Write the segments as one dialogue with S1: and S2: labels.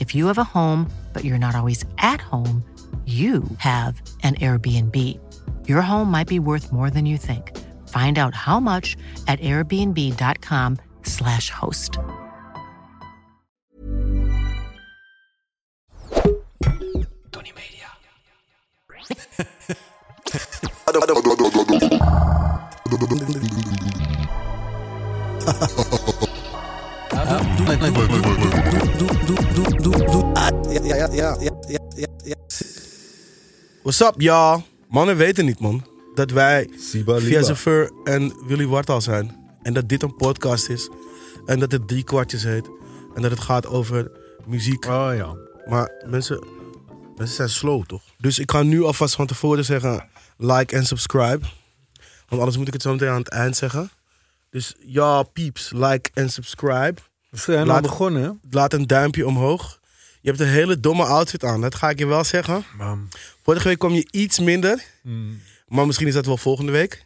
S1: If you have a home, but you're not always at home, you have an Airbnb. Your home might be worth more than you think. Find out how much at airbnb.com/slash host.
S2: Ja, ja, ja, ja, ja, ja.
S3: What's up, y'all? Mannen weten niet, man. Dat wij
S4: Siba
S3: via
S4: Liba.
S3: Zaffer en Willy Wartaal zijn. En dat dit een podcast is. En dat het drie kwartjes heet. En dat het gaat over muziek.
S4: Oh ja.
S3: Maar mensen, mensen zijn slow, toch? Dus ik ga nu alvast van tevoren zeggen... like en subscribe. Want anders moet ik het zo meteen aan het eind zeggen. Dus ja, peeps, like en subscribe.
S4: We zijn
S3: Laat-
S4: al begonnen, hè?
S3: Laat een duimpje omhoog. Je hebt een hele domme outfit aan, dat ga ik je wel zeggen. Vorige week kwam je iets minder. Maar misschien is dat wel volgende week.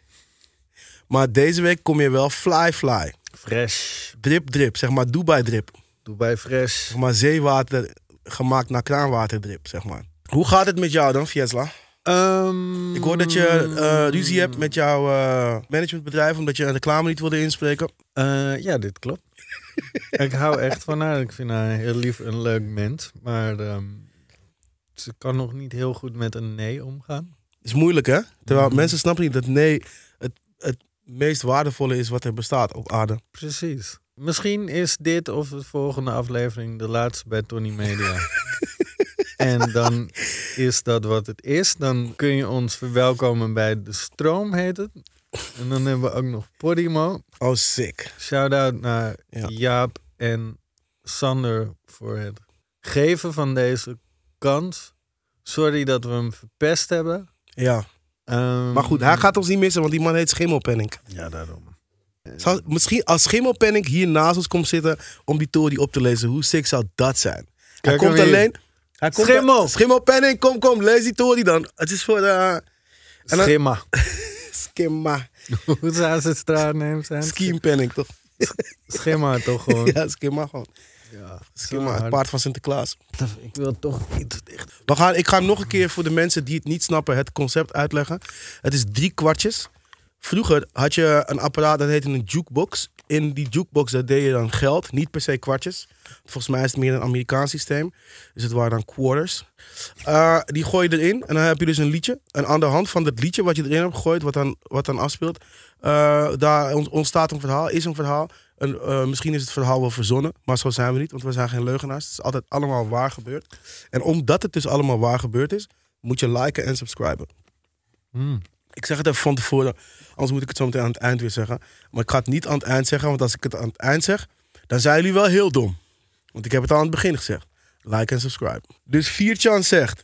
S3: Maar deze week kom je wel fly fly.
S4: Fresh.
S3: Drip drip, zeg maar Dubai drip.
S4: Dubai fresh.
S3: Zeg maar zeewater gemaakt naar kraanwater drip, zeg maar. Hoe gaat het met jou dan, Fiesla?
S4: Ehm,
S3: Ik hoor dat je eh, ruzie hebt met jouw eh, managementbedrijf... omdat je een reclame niet wilde inspreken.
S4: eh, ja, dit klopt. ik hou echt van haar. Ik vind haar een heel lief en leuk mens. Maar ehm, ze kan nog niet heel goed met een nee omgaan.
S3: is moeilijk, hè? Terwijl mensen snappen niet dat nee het, het meest waardevolle is wat er bestaat op aarde.
S4: Precies. Misschien is dit of de volgende aflevering de laatste bij Tony Media. en dan is dat wat het is. Dan kun je ons verwelkomen bij De Stroom, heet het. En dan hebben we ook nog Podimo.
S3: Oh, sick.
S4: Shout-out naar
S3: Ja.
S4: Jaap en Sander voor het geven van deze kans. Sorry dat we hem verpest hebben.
S3: Ja.
S4: Ehm,
S3: Maar goed, hij gaat ons niet missen, want die man heet Schimmelpenning.
S4: Ja, daarom.
S3: Zou, misschien als Schimmelpenning hier naast ons komt zitten om die Tory op te lezen, hoe sick zou dat zijn?
S4: Kijk
S3: hij komt
S4: hem hier.
S3: alleen... Hij komt
S4: Schimmel!
S3: Schimmelpenning, kom, kom, lees die Tory dan. Het is voor eh, de... En dan-
S4: Schimma.
S3: Schimma.
S4: Hoe zou ze het straatnaam zijn?
S3: Schimpenning, toch?
S4: Schimma toch gewoon.
S3: Ja, Schimma gewoon. Schimma, het paard van Sinterklaas.
S4: Ik wil toch niet dicht.
S3: We gaan, ik ga hem nog een keer voor de mensen die het niet snappen het concept uitleggen. Het is drie kwartjes. Vroeger had je een apparaat dat heette een jukebox. In die jukebox daar deed je dan geld, niet per se kwartjes. Volgens mij is het meer een Amerikaans systeem. Dus het waren dan quarters. Eh, die gooi je erin en dan heb je dus een liedje. En aan de hand van dat liedje wat je erin hebt gegooid, wat dan, wat dan afspeelt, eh, daar ont- ontstaat een verhaal, is een verhaal. En, eh, misschien is het verhaal wel verzonnen, maar zo zijn we niet, want we zijn geen leugenaars. Het is altijd allemaal waar gebeurd. En omdat het dus allemaal waar gebeurd is, moet je liken en subscriben. Ik zeg het even van tevoren, anders moet ik het zo meteen aan het eind weer zeggen. Maar ik ga het niet aan het eind zeggen, want als ik het aan het eind zeg, dan zijn jullie wel heel dom. Want ik heb het al aan het begin gezegd. Like en subscribe. Dus Vierchan zegt,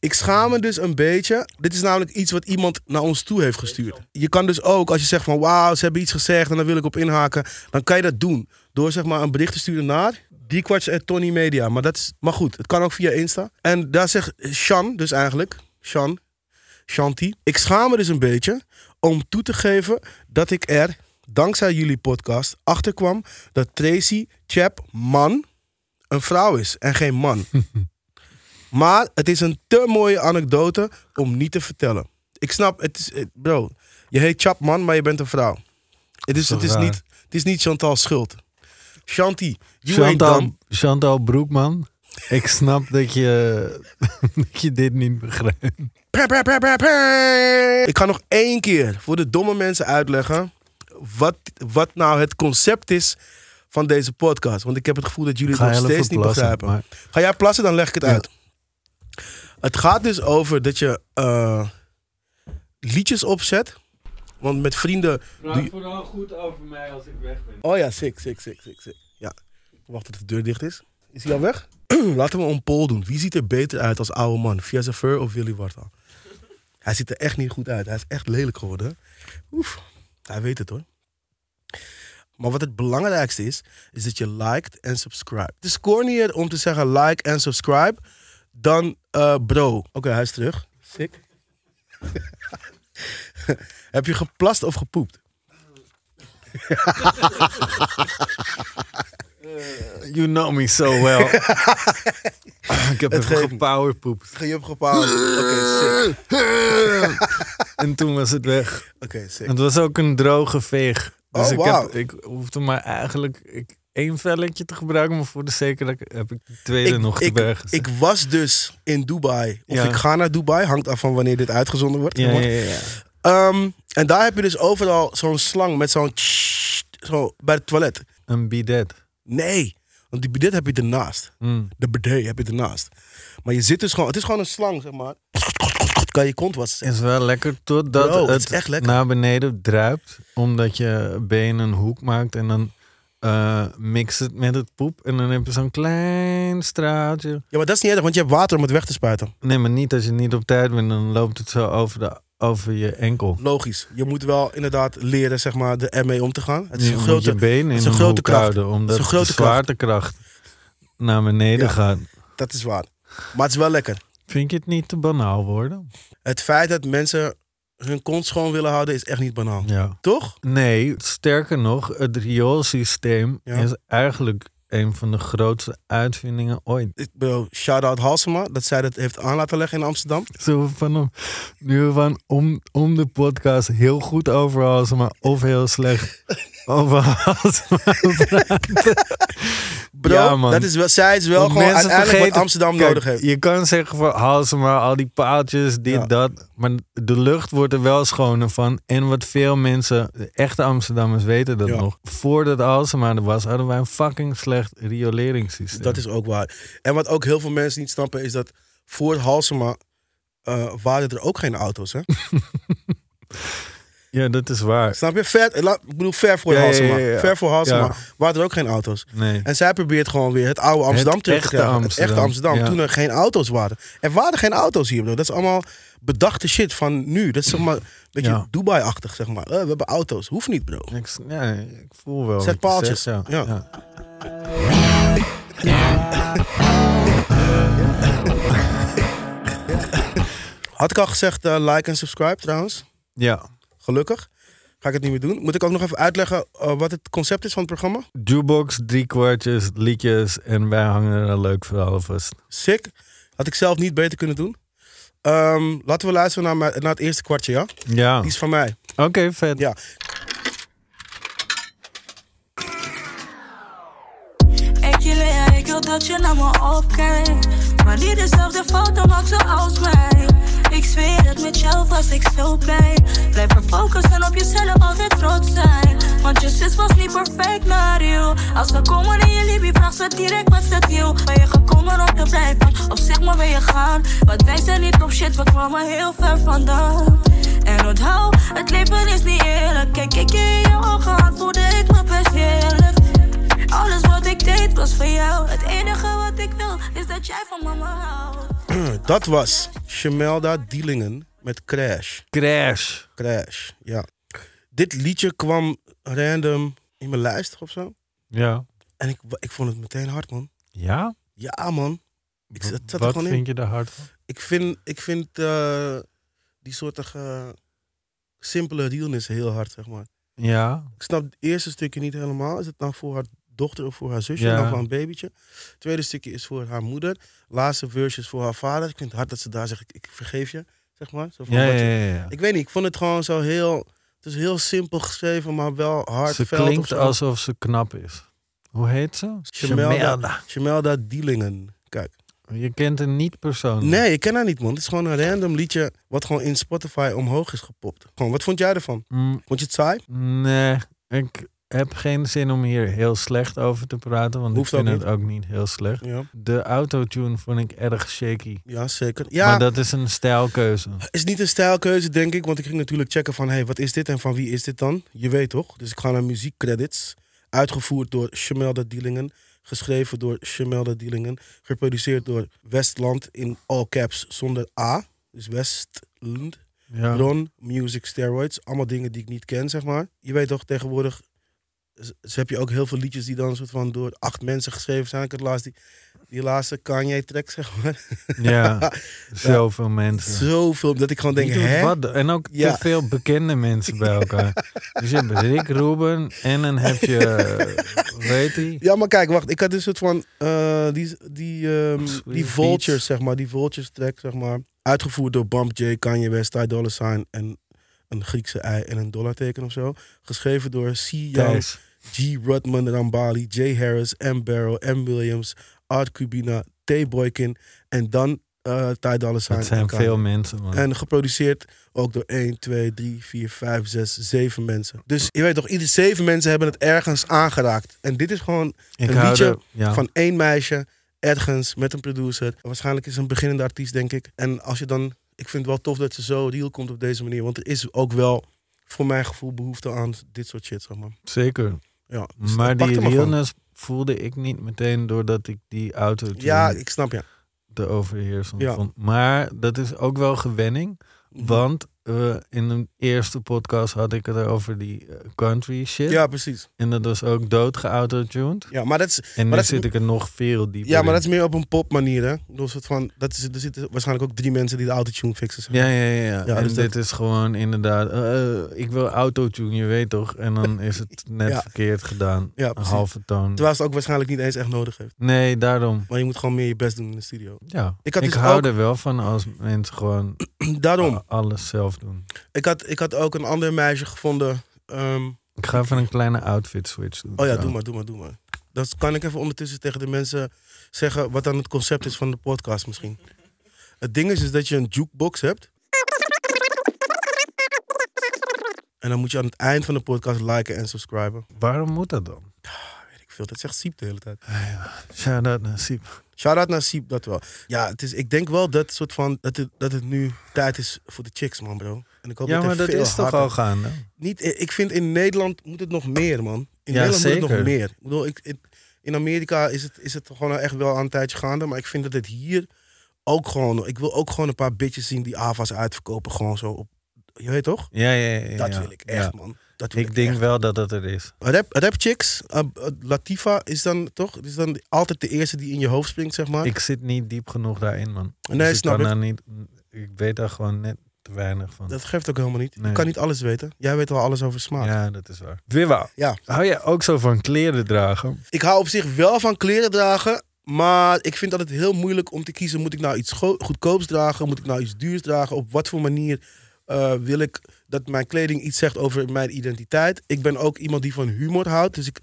S3: ik schaam me dus een beetje. Dit is namelijk iets wat iemand naar ons toe heeft gestuurd. Je kan dus ook, als je zegt van wauw, ze hebben iets gezegd en daar wil ik op inhaken. Dan kan je dat doen door zeg maar een bericht te sturen naar Diekwarts en Tony Media. Maar, dat is, maar goed, het kan ook via Insta. En daar zegt Shan dus eigenlijk, Shan, Shanti. Ik schaam me dus een beetje om toe te geven dat ik er, dankzij jullie podcast, achterkwam dat Tracy Chapman een vrouw is en geen man. maar het is een te mooie anekdote om niet te vertellen. Ik snap, het is, eh, bro, je heet Chapman, maar je bent een vrouw. Het is,
S4: toch
S3: het is,
S4: raar?
S3: niet, het is niet Chantal Schuld. Shanti, you ain't
S4: Chantal,
S3: dumb.
S4: Chantal Broekman. Ik snap dat je, dat je dit niet begrijpt.
S3: Prr, prr, prr, prr, prr. Ik ga nog één keer voor de domme mensen uitleggen wat, wat nou het concept is van deze podcast. Want ik heb het gevoel dat jullie
S4: Ik
S3: het
S4: ga
S3: nog
S4: heel
S3: steeds
S4: even
S3: niet
S4: plassen,
S3: begrijpen.
S4: maar-
S3: Ga jij plassen, dan leg ik het uit. Het gaat dus over dat je eh, liedjes opzet. Want met vrienden... doe je-
S4: vooral goed over mij als ik weg ben.
S3: Oh ja, sick, sick, sick, sick, sick. Ja. Wacht tot de deur dicht is. Is hij al weg? Laten we een poll doen. Wie ziet er beter uit als oude man? Via Fur of Willy Wartaal? Hij ziet er echt niet goed uit. Hij is echt lelijk geworden. hè? Oef, hij weet het hoor. Maar wat het belangrijkste is, is dat je liked en subscribed. Het is cornier om te zeggen like en subscribe dan eh, bro. Oké, hij is terug. Sick. Heb je geplast of gepoept?
S4: You know me so well. ik heb
S3: geeft
S4: even
S3: niet.
S4: gepowerpoept.
S3: Je hebt gepaald. Oké, sick.
S4: En toen was het weg.
S3: Oké, sick.
S4: Het was ook een droge veeg. Dus
S3: Oh,
S4: ik,
S3: wauw.
S4: heb, ik hoefde maar eigenlijk ik, één velletje te gebruiken. Maar voor de zekerheid heb ik de tweede nog te
S3: ik,
S4: bergen.
S3: ik was dus in Dubai. Of
S4: Ja.
S3: ik ga naar Dubai, hangt af van wanneer dit uitgezonden wordt.
S4: ja, ja, ja, ja.
S3: Ehm, en daar heb je dus overal zo'n slang met zo'n tssst, zo bij het toilet.
S4: Een bidet.
S3: Nee, want die bidet heb je ernaast.
S4: Mm.
S3: De bidet heb je ernaast. Maar je zit dus gewoon, het is gewoon een slang, zeg maar. Kan je kont wassen.
S4: Is wel lekker totdat
S3: Bro, het
S4: het,
S3: is echt lekker.
S4: naar beneden druipt. Omdat je benen een hoek maakt en dan eh mix het met het poep. En dan heb je zo'n klein straaltje.
S3: Ja, maar dat is niet erg, want je hebt water om het weg te spuiten.
S4: Nee, maar niet als je niet op tijd bent. Dan loopt het zo over, de, over je enkel.
S3: Logisch. Je moet wel inderdaad leren, zeg maar, de ermee om te gaan. Het is
S4: Je
S3: een
S4: moet
S3: grote...
S4: je benen
S3: het
S4: in
S3: is
S4: een
S3: een grote
S4: hoek
S3: kracht.
S4: houden. Omdat
S3: een grote
S4: de
S3: kracht.
S4: zwaartekracht naar beneden
S3: Ja.
S4: gaat.
S3: Dat is waar. Maar het is wel lekker.
S4: Vind je het niet te banaal worden?
S3: Het feit dat mensen hun kont schoon willen houden is echt niet banaal.
S4: Ja.
S3: Toch?
S4: Nee, sterker nog, het rioolsysteem
S3: Ja.
S4: is eigenlijk een van de grootste uitvindingen ooit.
S3: Ik bedoel, shout-out Halsema, dat zij dat heeft aan laten leggen in Amsterdam.
S4: Zo van om, nu van om, om de podcast heel goed over Halsema of heel slecht over Halsema praten.
S3: Bro, dat is wel, zij is wel
S4: Want
S3: gewoon
S4: mensen
S3: uiteindelijk
S4: vergeten-
S3: wat Amsterdam
S4: Kijk,
S3: nodig heeft.
S4: Je kan zeggen van Halsema, al die paaltjes, dit,
S3: Ja.
S4: dat. Maar de lucht wordt er wel schoner van. En wat veel mensen, de echte Amsterdammers weten dat
S3: Ja.
S4: nog. Voordat Halsema er was, hadden wij een fucking slecht rioleringssysteem.
S3: Dat is ook waar. En wat ook heel veel mensen niet snappen is dat voor Halsema eh, waren er ook geen auto's. Hè?
S4: Ja, dat is waar.
S3: Snap je? Ver, la- ik bedoel, ver voor
S4: Ja, ja,
S3: Halsema.
S4: ja, ja.
S3: Ver voor Halsema
S4: Ja.
S3: waren er ook geen auto's.
S4: Nee.
S3: En zij probeert gewoon weer het oude Amsterdam
S4: Het
S3: terug te
S4: echte
S3: krijgen.
S4: Amsterdam,
S3: Het echte Amsterdam.
S4: ja.
S3: Toen er geen auto's waren. Er waren geen auto's hier, bro. Dat is allemaal bedachte shit van nu. Dat is zeg maar een beetje
S4: Ja.
S3: Dubai-achtig, zeg maar. Eh, we hebben auto's. Hoeft niet, bro.
S4: Ik, s- ja, ik voel wel.
S3: Zet
S4: wat je
S3: paaltjes.
S4: zegt,
S3: Ja. Had ik al gezegd eh, like en subscribe trouwens.
S4: Ja.
S3: Gelukkig. Ga ik het niet meer doen. Moet ik ook nog even uitleggen eh, wat het concept is van het programma?
S4: Jukebox, drie kwartjes, liedjes en wij hangen er een leuk verhaal vast.
S3: Sick. Had ik zelf niet beter kunnen doen. Ehm, laten we luisteren naar, mijn- naar het eerste kwartje, ja?
S4: Ja,
S3: Die
S4: oké,
S3: is van mij.
S4: vet.
S3: Ja.
S5: Ik wil ja, ik wil dat je naar me opkijkt. Maar niet dezelfde fouten maakt zoals mij. Ik zweer het met jou was ik zo blij. Blijf er focussen op jezelf, altijd trots zijn. Want je zus was niet perfect naar jou. Als ze komen in je liefde, vraag ze direct wat ze wil. Ben je gekomen om te blijven? Of zeg maar ben je gaan? Want wij zijn niet op shit, we kwamen heel ver vandaan. En onthoud, het leven is niet eerlijk. Kijk ik in je ogen, aan, voelde ik me best heerlijk. Alles wat ik deed was voor jou. Het enige wat ik wil is dat jij van mama houdt.
S3: Dat was Shemelda Dielingen met Crash.
S4: Crash.
S3: Crash, ja. Dit liedje kwam random in mijn lijst of zo.
S4: Ja.
S3: En ik, ik vond het meteen hard, man.
S4: Ja?
S3: Ja, man. Ik, het zat er
S4: Wat
S3: gewoon
S4: vind
S3: in.
S4: je daar hard van?
S3: Ik vind, ik vind eh, die soortige simpele realness heel hard, zeg maar.
S4: Ja.
S3: Ik snap het eerste stukje niet helemaal. Is het nou voor haar dochter of voor haar zusje?
S4: Ja.
S3: En dan voor een babytje. Het tweede stukje is voor haar moeder. Laatste verse is voor haar vader. Ik vind het hard dat ze daar zegt, ik, ik vergeef je, zeg maar. Zo van,
S4: Ja,
S3: wat
S4: ja,
S3: je-
S4: ja. ja.
S3: Ik weet niet, ik vond het gewoon zo heel... Het is heel simpel geschreven, maar wel hard.
S4: Ze klinkt alsof ze knap is. Hoe heet ze?
S3: Shamelda. Shamelda Dielingen. Kijk.
S4: Je kent hem niet persoonlijk.
S3: Nee, ik ken haar niet, man. Het is gewoon een random liedje wat gewoon in Spotify omhoog is gepopt. Gewoon, wat vond jij ervan?
S4: Mm,
S3: Vond je het saai?
S4: nee, ik heb geen zin om hier heel slecht over te praten, want
S3: Hoeft
S4: ik vind
S3: ook
S4: het ook niet heel slecht.
S3: Ja,
S4: De autotune vond ik erg shaky.
S3: ja zeker. Ja,
S4: Maar dat is een stijlkeuze.
S3: is niet een stijlkeuze, denk ik. Want ik ging natuurlijk checken van, hey, wat is dit en van wie is dit dan? Je weet toch? Dus ik ga naar muziekcredits. Uitgevoerd door Shamelda Dielingen. Geschreven door Shamelda Dielingen. Geproduceerd door Westland in all caps zonder A. Dus Westland.
S4: Ja.
S3: Ron, music, steroids. Allemaal dingen die ik niet ken, zeg maar. Je weet toch, tegenwoordig z- z- heb je ook heel veel liedjes die dan soort van door acht mensen geschreven zijn. Ik had laatst die, die laatste Kanye-track, zeg maar.
S4: Ja, zoveel mensen.
S3: Zoveel, dat ik gewoon denk,
S4: Die doet
S3: hè?
S4: wat- en ook
S3: Ja.
S4: te veel bekende mensen bij elkaar. Dus je hebt Rick Ruben en dan heb je, eh, weet hij?
S3: Ja, maar kijk, wacht. Ik had een soort van. eh, die, die, ehm,
S4: Sweet
S3: die Vultures,
S4: Beats.
S3: zeg maar. Die Vultures track, zeg maar. Uitgevoerd door Bump J, Kanye West, Ty Dolla Sign en een Griekse ei en een dollarteken of zo. Geschreven door C. Young,
S4: Thijs.
S3: G. Rudman Rambali, J. Harris, M. Barrow, M. Williams, Art Cubina, T. Boykin en dan eh Ty Dolla Sign.
S4: Dat zijn
S3: en Kanye.
S4: veel mensen, man.
S3: En geproduceerd ook door 1, 2, 3, 4, 5, 6, 7 mensen. Dus je weet toch, ieder zeven mensen hebben het ergens aangeraakt. En dit is gewoon
S4: Ik
S3: een
S4: hou
S3: liedje
S4: er- ja.
S3: van één meisje, ergens, met een producer. Waarschijnlijk is ze een beginnende artiest, denk ik. En als je dan, ik vind het wel tof dat ze zo real komt op deze manier. Want er is ook wel, voor mijn gevoel, behoefte aan dit soort shit, zeg maar.
S4: Zeker.
S3: Ja, dus
S4: Maar
S3: ik pakte
S4: die
S3: me gewoon.
S4: realness voelde ik niet meteen doordat ik die auto
S3: Ja, ik snap ja.
S4: de overheersend
S3: Ja. Mhm.
S4: vond. Maar dat is ook wel gewenning. Want eh, in de eerste podcast had ik het over die eh, country shit.
S3: Ja, precies.
S4: En dat was ook doodgeautotuned.
S3: Ja, maar dat is,
S4: En
S3: maar
S4: nu
S3: dat is
S4: zit ik er nog veel dieper
S3: Ja, maar
S4: in.
S3: dat is meer op een popmanier, hè? Dus het van, dat is, er zitten waarschijnlijk ook drie mensen die de autotune fixen. zeg maar.
S4: Ja, ja, ja. ja. en
S3: dus dat-
S4: dit is gewoon inderdaad... eh, eh, ik wil autotune, je weet toch? En dan is het net
S3: Ja.
S4: verkeerd gedaan.
S3: Ja,
S4: een
S3: precies.
S4: halve toon.
S3: Terwijl ze het ook waarschijnlijk niet eens echt nodig heeft.
S4: Nee, daarom.
S3: Maar je moet gewoon meer je best doen in de studio.
S4: Ja.
S3: Ik
S4: Ik,
S3: had dus
S4: hou
S3: ook-
S4: er wel van als mensen gewoon
S3: Daarom,
S4: a- alles zelf doen.
S3: ik, had, ik had ook een ander meisje gevonden. ehm,
S4: Ik ga even een kleine outfit switch doen.
S3: oh ja,
S4: zo.
S3: doe maar, doe maar, doe maar. Dat kan ik even ondertussen tegen de mensen zeggen wat dan het concept is van de podcast misschien. Het ding is, is dat je een jukebox hebt. En dan moet je aan het eind van de podcast liken en subscriben.
S4: Waarom moet dat dan?
S3: Weet ik veel, dat zegt Siep de hele tijd.
S4: Shout-out naar Siep.
S3: Shout-out naar Siep, dat wel. Ja, het is, ik denk wel dat, soort van, dat, het, dat het nu tijd is voor de chicks, man, bro. En ik hoop
S4: Ja,
S3: dat er
S4: maar dat
S3: veel
S4: is toch
S3: harder-
S4: al gaande?
S3: Niet, eh, ik vind in Nederland moet het nog meer, man. In
S4: Ja,
S3: Nederland moet het nog
S4: zeker.
S3: meer. Ik bedoel, ik, ik- in Amerika is het, is het gewoon echt wel aan een tijdje gaande. Maar ik vind dat het hier ook gewoon... Ik wil ook gewoon een paar bitches zien die AVA's uitverkopen. Gewoon zo op... Je weet toch?
S4: Ja, ja, ja.
S3: Dat
S4: ja.
S3: wil ik echt,
S4: Ja.
S3: man. Dat wil ik,
S4: Ik denk
S3: echt.
S4: wel dat dat er is.
S3: Rap, rap chicks, eh, eh, Latifa is dan toch is dan altijd de eerste die in je hoofd springt, zeg maar.
S4: Ik zit niet diep genoeg daarin, man.
S3: Nee,
S4: Dus
S3: snap
S4: ik.
S3: ik.
S4: Kan daar niet, ik weet daar gewoon net te weinig van.
S3: Dat geeft ook helemaal niet.
S4: Nee.
S3: Ik kan niet alles weten. Jij weet wel alles over smaak.
S4: ja, dat is waar. Wiwa,
S3: Ja.
S4: hou jij ook zo van kleren dragen?
S3: Ik hou op zich wel van kleren dragen. Maar ik vind altijd heel moeilijk om te kiezen: moet ik nou iets go- goedkoops dragen? Moet ik nou iets duurs dragen? Op wat voor manier eh, wil ik dat mijn kleding iets zegt over mijn identiteit? Ik ben ook iemand die van humor houdt. Dus ik.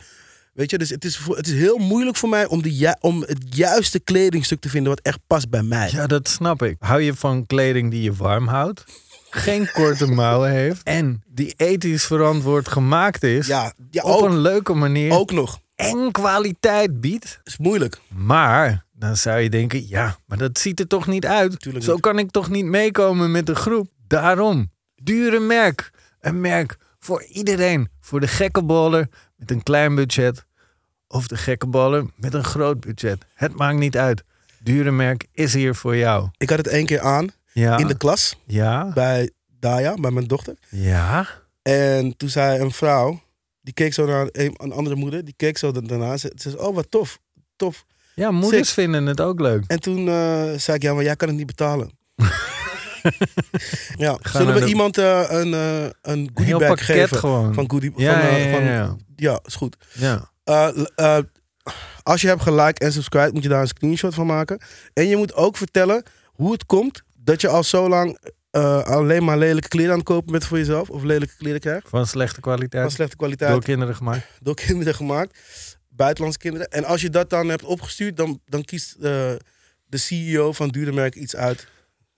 S3: Weet je, dus het is, voor- het is heel moeilijk voor mij om, de ju- om het juiste kledingstuk te vinden wat echt past bij mij.
S4: Ja, dat snap ik. Hou je van kleding die je warm houdt? Geen korte mouwen heeft. En die ethisch verantwoord gemaakt is.
S3: Ja, ja,
S4: op
S3: ook.
S4: een leuke manier.
S3: Ook nog.
S4: En kwaliteit biedt.
S3: is moeilijk.
S4: Maar dan zou je denken, ja, maar dat ziet er toch niet uit.
S3: Tuurlijk
S4: Zo
S3: niet.
S4: kan ik toch niet meekomen met de groep. Daarom, dure merk. Een merk voor iedereen. Voor de gekke baller met een klein budget. Of de gekke baller met een groot budget. Het maakt niet uit. Dure merk is hier voor jou.
S3: Ik had het één keer aan
S4: Ja,
S3: in de klas
S4: ja,
S3: bij Daya, bij mijn dochter.
S4: ja.
S3: En toen zei een vrouw, die keek zo naar een, een andere moeder, die keek zo da- daarna. Ze ze zei, oh wat tof, tof.
S4: Ja, moeders
S3: Sick.
S4: vinden het ook leuk.
S3: En toen eh, zei ik, ja, maar jij kan het niet betalen. ja,
S4: Ga
S3: zullen
S4: naar
S3: we
S4: de-
S3: iemand eh, een, eh een
S4: Een heel
S3: goodie bag
S4: pakket
S3: geven?
S4: gewoon.
S3: Van goodie,
S4: Ja,
S3: van, eh,
S4: ja, ja,
S3: van-
S4: ja.
S3: ja, is goed.
S4: Ja.
S3: Eh, l- eh, als je hebt geliked en subscribed, moet je daar een screenshot van maken. En je moet ook vertellen hoe het komt dat je al zo lang eh, alleen maar lelijke kleren aan het kopen bent voor jezelf. Of lelijke kleren krijgt.
S4: Van slechte kwaliteit.
S3: Van slechte kwaliteit
S4: door kinderen gemaakt.
S3: door kinderen gemaakt. Buitenlandse kinderen. En als je dat dan hebt opgestuurd, dan, dan kiest eh, de CEO van Duurmerk iets uit.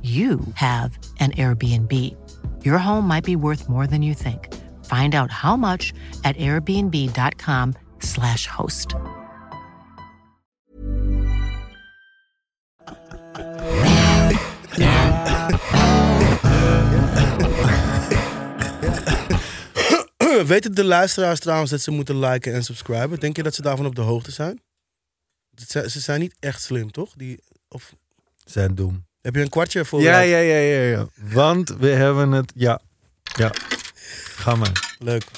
S1: you have an Airbnb. Your home might be worth more than you think. Find out how much at airbnb.com/slash host.
S3: Weten de luisteraars trouwens dat ze moeten liken en subscriben? Denk je dat ze daarvan op de hoogte zijn? Dat zijn- Ze zijn niet echt slim, toch? Die, of,
S4: Zijn doem.
S3: heb je een kwartje voor?
S4: Ja, ja, ja, ja, ja. Want we hebben het. Ja. Ja. Ga maar.
S3: Leuk.
S5: De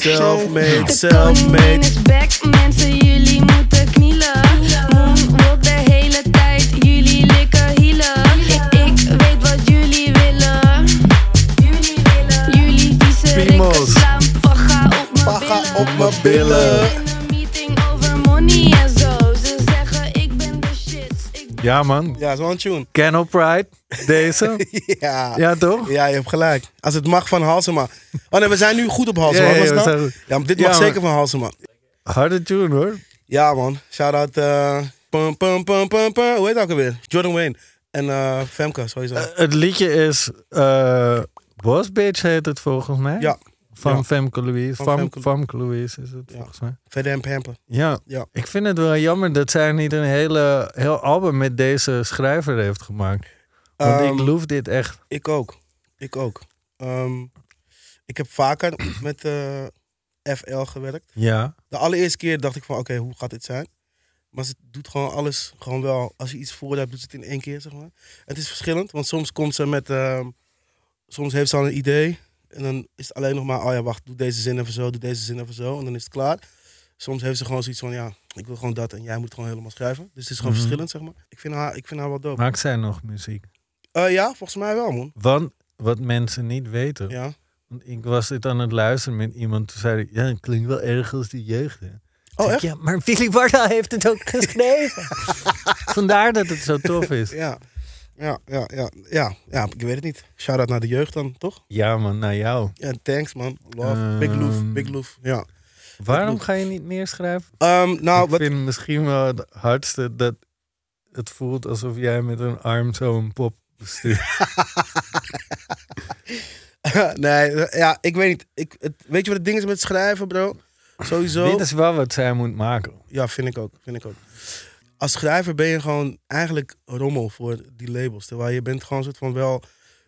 S3: Self-made,
S5: koningin
S3: self-made.
S5: is back, mensen jullie moeten knielen. Moonwalk de hele tijd, jullie likken hielen. Ik weet wat jullie willen. Jullie willen. Jullie vieze rikken
S4: Primo's.
S5: slaan. Paga op mijn
S3: op mijn
S5: billen.
S3: billen.
S5: In een meeting over money en zo. Ze zeggen ik ben de shit. Ik
S4: Ja, man.
S3: Ja, zo'n tune.
S4: Kennel Pride. Deze.
S3: Ja.
S4: Ja, toch?
S3: Ja, je hebt gelijk. Als het mag van Halsema. Oh nee, we zijn nu goed op Halsema.
S4: Ja, ja,
S3: Wat was dat?
S4: we zijn goed.
S3: Ja, maar dit
S4: Ja,
S3: mag
S4: maar-
S3: zeker van Halsema.
S4: Harde tune hoor.
S3: Ja, man. Shout-out... eh, pum, pum, pum, pum, pum. Hoe heet dat ook alweer? Jordan Wayne. En eh, Femke, sowieso.
S4: Het liedje is. eh Boss Bitch heet het volgens mij.
S3: ja.
S4: Van
S3: Ja.
S4: Femke Louise.
S3: Van
S4: Van
S3: Femke-
S4: Femke Louise is het volgens mij.
S3: Verder en Pamper.
S4: Ja.
S3: Ja.
S4: Ik vind het wel jammer dat zij niet een hele, heel album met deze schrijver heeft gemaakt. Want
S3: Ehm,
S4: ik loof dit echt.
S3: Ik ook. Ik ook. Ehm, ik heb vaker met eh, FL gewerkt.
S4: Ja.
S3: De allereerste keer dacht ik van, oké, hoe gaat dit zijn? Maar ze doet gewoon alles, gewoon wel. Als je iets voor hebt, doet ze het in één keer, zeg maar. Het is verschillend, want soms komt ze met, ehm, soms heeft ze al een idee. En dan is het alleen nog maar, oh ja, wacht, doe deze zin even zo, doe deze zin even zo. En dan is het klaar. Soms heeft ze gewoon zoiets van, ja, ik wil gewoon dat en jij moet het gewoon helemaal schrijven. Dus het is gewoon verschillend, zeg maar. Ik vind haar, ik vind haar wel dope.
S4: Maakt zij nog muziek?
S3: Eh, ja, volgens mij wel, man.
S4: Want wat mensen niet weten.
S3: Ja.
S4: Want ik was dit aan het luisteren met iemand. Toen zei ik, ja, het klinkt wel erg als die jeugd. Hè.
S3: Oh, echt?
S4: Ja, maar Willy Warda heeft het ook geschreven. Vandaar dat het zo tof is.
S3: Ja. Ja, ja, ja, ja, ja, ik weet het niet. Shout-out naar de jeugd dan, toch?
S4: Ja man, naar jou.
S3: Ja, thanks man. Love. big
S4: Ehm.
S3: loof, big loof. Ja.
S4: Waarom ga je niet meer schrijven?
S3: Ehm, nou,
S4: Ik
S3: wat,
S4: vind misschien wel het hardste dat het voelt alsof jij met een arm zo een pop bestuurt.
S3: nee, ja, ik weet niet. Ik, het, weet je wat het ding is met schrijven, bro? Sowieso.
S4: Dit is wel wat zij moet maken.
S3: Ja, vind ik ook, vind ik ook. Als schrijver ben je gewoon eigenlijk rommel voor die labels. Terwijl je bent gewoon soort van wel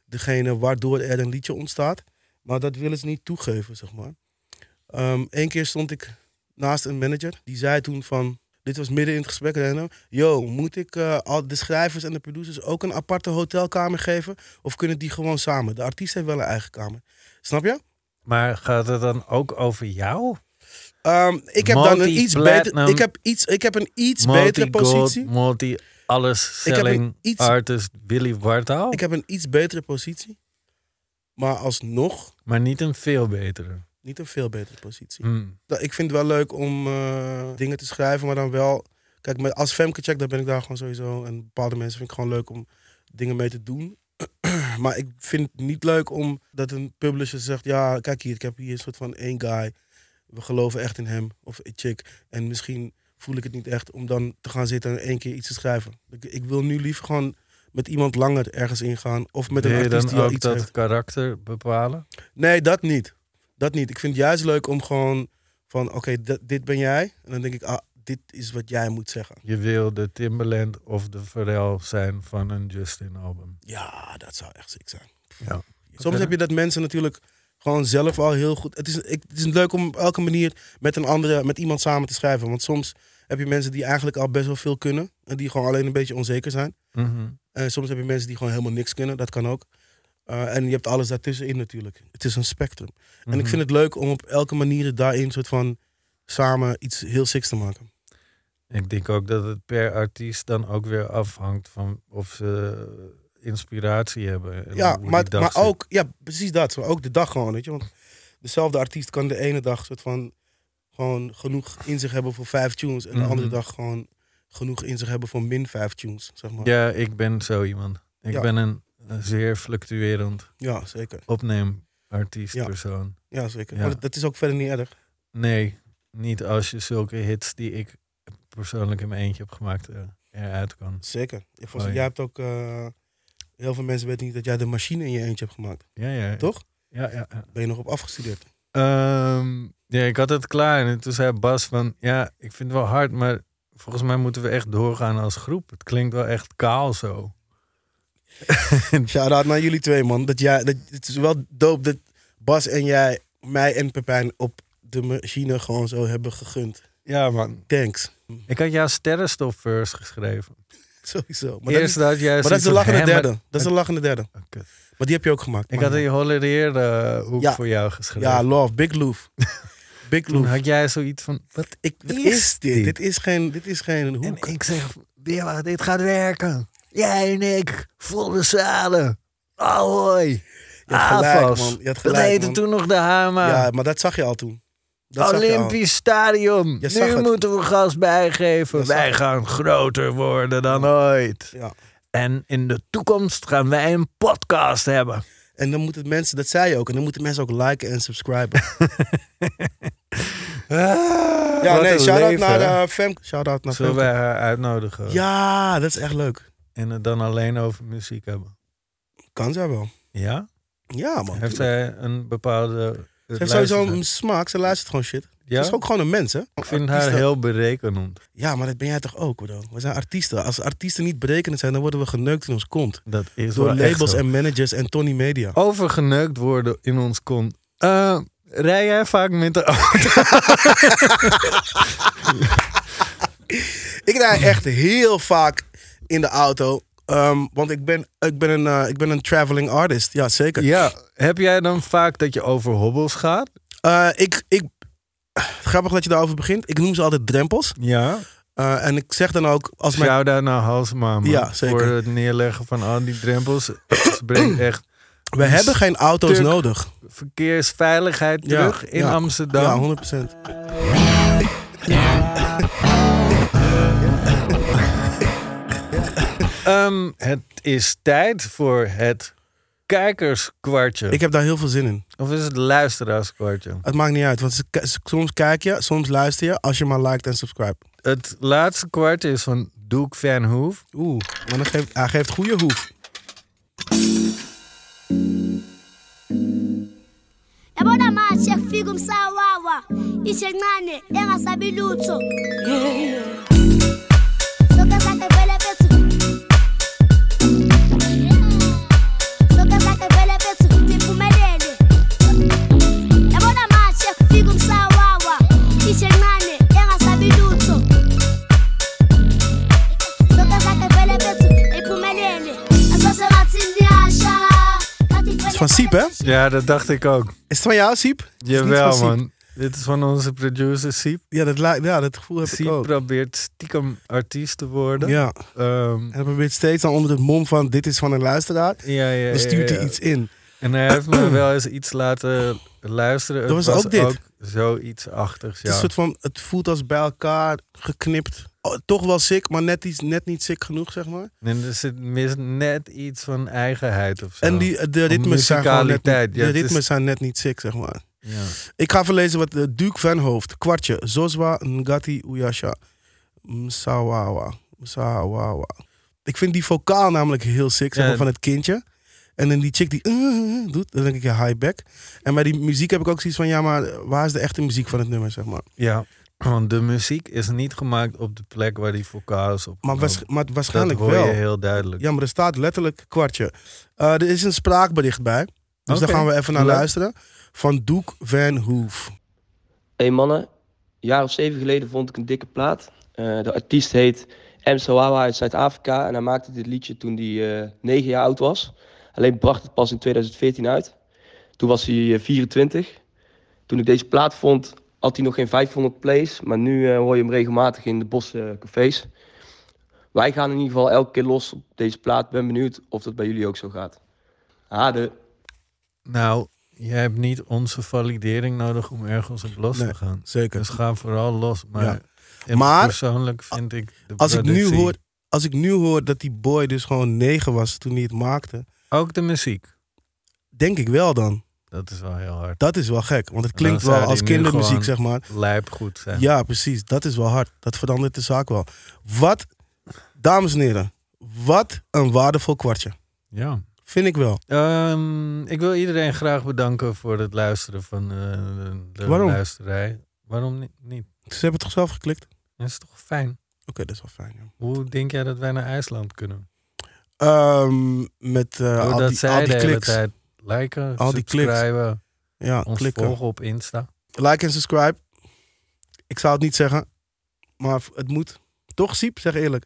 S3: degene waardoor er een liedje ontstaat. Maar dat willen ze niet toegeven, zeg maar. Eén keer stond ik naast een manager. Die zei toen van... Dit was midden in het gesprek. Reno. Yo, moet ik eh, al de schrijvers en de producers ook een aparte hotelkamer geven? Of kunnen die gewoon samen? De artiest heeft wel een eigen kamer. Snap je?
S4: Maar gaat het dan ook over jou?
S3: Ehm, ik, heb dan een iets beter,
S4: Multi-platinum.
S3: ik, heb iets, ik heb een iets betere positie.
S4: multi alles
S3: Ik heb een
S4: selling
S3: iets-
S4: artist Willy Wartaal.
S3: Ik heb een iets betere positie. Maar alsnog
S4: Maar niet een veel betere.
S3: niet een veel betere positie.
S4: Hmm.
S3: Dat- Ik vind het wel leuk om eh, dingen te schrijven, maar dan wel... Kijk, met, als Femke Check, dan ben ik daar gewoon sowieso. En bepaalde mensen vind ik gewoon leuk om dingen mee te doen. maar ik vind het niet leuk om dat een publisher zegt... Ja, kijk hier, ik heb hier een soort van één guy. We geloven echt in hem of een chick. En misschien voel ik het niet echt om dan te gaan zitten en één keer iets te schrijven. Ik, ik wil nu liever gewoon met iemand langer ergens ingaan. Of met
S4: Wil
S3: een
S4: je
S3: artiest
S4: dan
S3: die al
S4: ook
S3: iets
S4: dat
S3: heeft.
S4: karakter bepalen?
S3: Nee, dat niet. Dat niet. Ik vind het juist leuk om gewoon van, oké, dat- dit ben jij. En dan denk ik, ah, dit is wat jij moet zeggen.
S4: Je wil de Timberland of de Pharrell zijn van een Justin album.
S3: Ja, dat zou echt ziek zijn.
S4: Ja.
S3: Soms heb je dat mensen natuurlijk gewoon zelf al heel goed. Het is, ik, het is leuk om op elke manier met een andere, met iemand samen te schrijven. Want soms heb je mensen die eigenlijk al best wel veel kunnen. En die gewoon alleen een beetje onzeker zijn.
S4: Mhm.
S3: En soms heb je mensen die gewoon helemaal niks kunnen. Dat kan ook. Uh, en je hebt alles daartussenin natuurlijk. Het is een spectrum. En ik
S4: Mhm.
S3: vind het leuk om op elke manier daarin soort van samen iets heel siks te maken.
S4: Ik denk ook dat het per artiest dan ook weer afhangt van of ze eh, inspiratie hebben. en
S3: ja,
S4: hoe die
S3: maar,
S4: dag
S3: maar
S4: zit.
S3: ook, ja, precies dat. Maar ook de dag gewoon, weet je. Want dezelfde artiest kan de ene dag soort van gewoon genoeg in zich hebben voor vijf tunes. En de
S4: Mhm.
S3: andere dag gewoon genoeg in zich hebben voor min vijf tunes, zeg maar. Ja,
S4: Ja, ik ben zo iemand. Ik
S3: Ja.
S4: ben een een zeer fluctuerend
S3: zeker.
S4: opneemartiest
S3: Ja.
S4: persoon.
S3: Ja, zeker.
S4: Ja.
S3: Maar dat, dat is ook verder niet erg.
S4: Nee, niet als je zulke hits die ik persoonlijk in mijn eentje heb gemaakt eh, eruit kan.
S3: Zeker. Ik vond,
S4: Oh, ja.
S3: Jij hebt ook... eh, heel veel mensen weten niet dat jij de machine in je eentje hebt gemaakt.
S4: Ja, ja.
S3: Toch?
S4: Ja, ja. ja.
S3: Ben je nog op afgestudeerd?
S4: Ehm, ja, ik had het klaar en toen zei Bas van, ja, ik vind het wel hard, maar volgens mij moeten we echt doorgaan als groep. Het klinkt wel echt kaal zo.
S3: Shout-out naar jullie twee, man. Dat jij, dat, het is wel dope dat Bas en jij mij en Pepijn op de machine gewoon zo hebben gegund.
S4: Ja, man.
S3: Thanks.
S4: Ik had jouw sterrenstof first geschreven.
S3: Sowieso.
S4: Maar
S3: Maar,
S4: Eerst
S3: dat,
S4: dat jij
S3: is, maar dat is de lachende derde. Dat is de lachende derde.
S4: kut.
S3: Maar die heb je ook gemaakt.
S4: Ik
S3: man.
S4: had een holereerde hoek
S3: Ja.
S4: voor jou geschreven.
S3: ja, love. Big loof. Big
S4: Toen
S3: loof.
S4: had jij zoiets van, wat
S3: Ik, wat
S4: is
S3: is, dit? Dit is geen, dit is geen
S4: En
S3: hoek.
S4: ik zeg, Billa, dit gaat werken. Jij en ik, volle zalen. Ahoy.
S3: Je had gelijk,
S4: Avas.
S3: man. Je had
S4: Dat
S3: gelijk,
S4: heette
S3: man.
S4: toen nog de Hama.
S3: ja, maar dat zag je al toen. Dat zag je al.
S4: Olympisch Stadion.
S3: Je zag
S4: Nu
S3: het.
S4: moeten we gas bijgeven.
S3: Je zag
S4: Wij
S3: het.
S4: gaan groter worden dan ooit.
S3: Ja.
S4: En in de toekomst gaan wij een podcast hebben.
S3: En dan moeten mensen, dat zei je ook, en dan moeten mensen ook liken en subscriben. ja,
S4: Ah, wat
S3: nee,
S4: een
S3: shout-out
S4: leven,
S3: naar
S4: hè?
S3: eh, Femke. Shout-out naar
S4: Zullen
S3: Femke.
S4: wij haar uitnodigen?
S3: Ja, dat is echt leuk.
S4: En het dan alleen over muziek hebben.
S3: Kan zij wel.
S4: Ja?
S3: Ja, man.
S4: Heeft
S3: ze
S4: zij een bepaalde...
S3: heeft sowieso
S4: luisteraar?
S3: een smaak, ze luistert gewoon shit.
S4: Ja?
S3: Ze is ook gewoon een mens, hè?
S4: Ik vind haar heel berekenend.
S3: Ja, maar dat ben jij toch ook, bro? We zijn artiesten. Als artiesten niet berekenend zijn, dan worden we geneukt in ons kont.
S4: Dat is
S3: Door
S4: wel echt
S3: labels
S4: zo.
S3: en managers en Tony Media.
S4: Overgeneukt worden in ons kont. Eh, rij jij vaak met de auto?
S3: Ik rijd echt heel vaak in de auto. ehm, want ik ben, ik, ben een, eh, ik ben een traveling artist. Ja, zeker.
S4: Ja. Heb jij dan vaak dat je over hobbels gaat?
S3: Eh, ik, ik, grappig dat je daarover begint. Ik noem ze altijd drempels.
S4: Ja.
S3: Eh, en ik zeg dan ook, als mijn
S4: Shout out naar Halsma, man.
S3: Ja, zeker.
S4: Voor het neerleggen van al die drempels. Ze brengt echt
S3: we hebben geen auto's
S4: Turk.
S3: nodig.
S4: verkeersveiligheid
S3: Ja,
S4: terug in
S3: ja.
S4: Amsterdam.
S3: Ja, 100%.
S4: Ehm, het is tijd voor het kijkerskwartje.
S3: Ik heb daar heel veel zin in.
S4: Of is het luisteraarskwartje?
S3: Het maakt niet uit, want ze- ze- soms kijk je, soms luister je, als je maar liked en subscribe.
S4: Het laatste kwartje is van Doek Van Hoef.
S3: Oeh, maar dan geeft, hij geeft goede hoef.
S6: yabona manje kufika umsawawa ishe encane engasabi lutho Zonke zakhe vele bethu Zonke zakhe vele bethu tiphumelele yabona manje kufika umsawawa ishe encane engasabi lutho Zonke zakhe vele bethu iphumelele asasengathi ndiyasha
S3: is van Siep, hè?
S4: Ja, dat dacht ik ook.
S3: Is het van jou, Siep? Is het niet van
S4: Jawel,
S3: Siep?
S4: man. Dit is van onze producer Siep.
S3: Ja, dat, lijkt- ja, dat gevoel heb ik
S4: Siep
S3: ook.
S4: probeert stiekem artiest te worden.
S3: Ja,
S4: Ehm,
S3: en hij probeert steeds dan onder het mom van dit is van een luisteraar.
S4: ja, ja,
S3: Dan stuurt
S4: ja,
S3: hij
S4: ja.
S3: iets in.
S4: En hij heeft me wel eens iets laten luisteren. Het
S3: Dat was ook dit.
S4: zoiets achtigs,
S3: Het,
S4: ja.
S3: is een soort van, het voelt als bij elkaar geknipt. Oh, toch wel sick, maar net, iets, net niet sick genoeg, zeg maar.
S4: En er zit mis net iets van eigenheid of zo.
S3: En die, eh, de
S4: Of
S3: ritmes zijn gewoon net, niet-
S4: musicaliteit. Ja,
S3: de
S4: het is-
S3: ritmes zijn net niet sick, zeg maar.
S4: Ja.
S3: Ik ga verlezen wat eh, Duke van Hoofd, Kwartje, Zozwa, Ngati, Uyasha, Msawawa. Msawawa. Ik vind die vocaal namelijk heel sick, zeg
S4: Ja.
S3: maar, van het kindje. En dan die chick die eh, doet, dan denk ik ja, high back. En bij die muziek heb ik ook zoiets van, ja, maar waar is de echte muziek van het nummer, zeg maar?
S4: Ja, want de muziek is niet gemaakt op de plek waar die vocaal is op.
S3: Maar, waars- maar
S4: Nou, dat
S3: waarschijnlijk
S4: hoor
S3: wel.
S4: je heel duidelijk.
S3: Ja, maar er staat letterlijk kwartje. Eh, er is een spraakbericht bij. Dus daar
S4: Oké.
S3: gaan we even naar
S4: Leuk.
S3: luisteren. Van Doek Van Hoef.
S7: Hey mannen, een jaar of zeven geleden vond ik een dikke plaat. Eh, de artiest heet M. Sawawa uit Zuid-Afrika en hij maakte dit liedje toen hij eh, negen jaar oud was. Alleen bracht het pas in 2014 uit. Toen was hij eh, 24. Toen ik deze plaat vond, had hij nog geen 500 plays, maar nu eh, hoor je hem regelmatig in de boscafés. Wij gaan in ieder geval elke keer los op deze plaat. Ben benieuwd of dat bij jullie ook zo gaat. Hade.
S4: Nou, jij hebt niet onze validering nodig om ergens op los
S3: Nee,
S4: te gaan.
S3: Zeker.
S4: Dus ga vooral los. Maar,
S3: Ja.
S4: en
S3: Maar-
S4: persoonlijk vind ik de
S3: Als ik, nu
S4: productie-
S3: hoor, als ik nu hoor dat die boy dus gewoon negen was toen hij het maakte,
S4: Ook de muziek.
S3: denk ik wel dan.
S4: Dat is wel heel hard.
S3: Dat is wel gek, want het
S4: dan
S3: klinkt
S4: zou
S3: wel
S4: die
S3: als
S4: nu
S3: kindermuziek,
S4: gewoon-
S3: zeg maar.
S4: Lijp goed zijn.
S3: Ja, precies. Dat is wel hard. Dat verandert de zaak wel. Wat, dames en heren, wat een waardevol kwartje.
S4: ja.
S3: Vind ik wel.
S4: Ehm, ik wil iedereen graag bedanken voor het luisteren van eh, de, de
S3: Waarom?
S4: luisterij. Waarom ni- niet?
S3: Ze hebben het toch zelf geklikt? Oké,
S4: Dat is toch fijn?
S3: dat is wel fijn. Ja.
S4: Hoe denk jij dat wij naar IJsland kunnen?
S3: Ehm, met eh, al,
S4: Doordat
S3: die,
S4: zij
S3: al die
S4: de hele
S3: kliks.
S4: tijd liken,
S3: Al die kliks.
S4: subscriben,
S3: Ja,
S4: ons
S3: klikken.
S4: volgen op Insta.
S3: Like en subscribe. Ik zou het niet zeggen, maar het moet. Toch, Siep? Zeg eerlijk.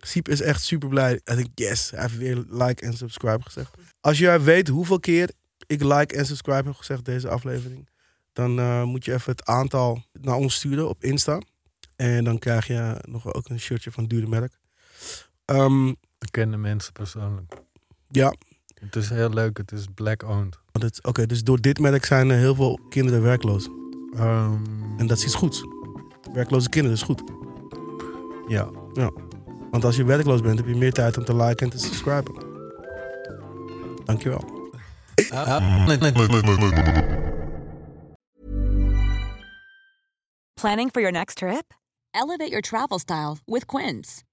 S3: Siep is echt super blij. Hij denkt, yes, hij heeft weer like en subscribe gezegd. Als jij weet hoeveel keer ik like en subscribe heb gezegd deze aflevering, dan eh, moet je even het aantal naar ons sturen op Insta. En dan krijg je nog ook een shirtje van Dure Merk. Ehm,
S4: Ik ken de mensen persoonlijk.
S3: ja,
S4: Het is heel leuk, het is black-owned.
S3: want het- oké, dus door dit merk zijn er heel veel kinderen werkloos.
S4: Ehm,
S3: En dat is iets goeds. Werkloze kinderen is goed.
S4: ja,
S3: Want als je werkloos bent, heb je meer tijd om te liken en te subscriben. Dankjewel.
S5: Planning for your next trip? Elevate your travel style with Quince.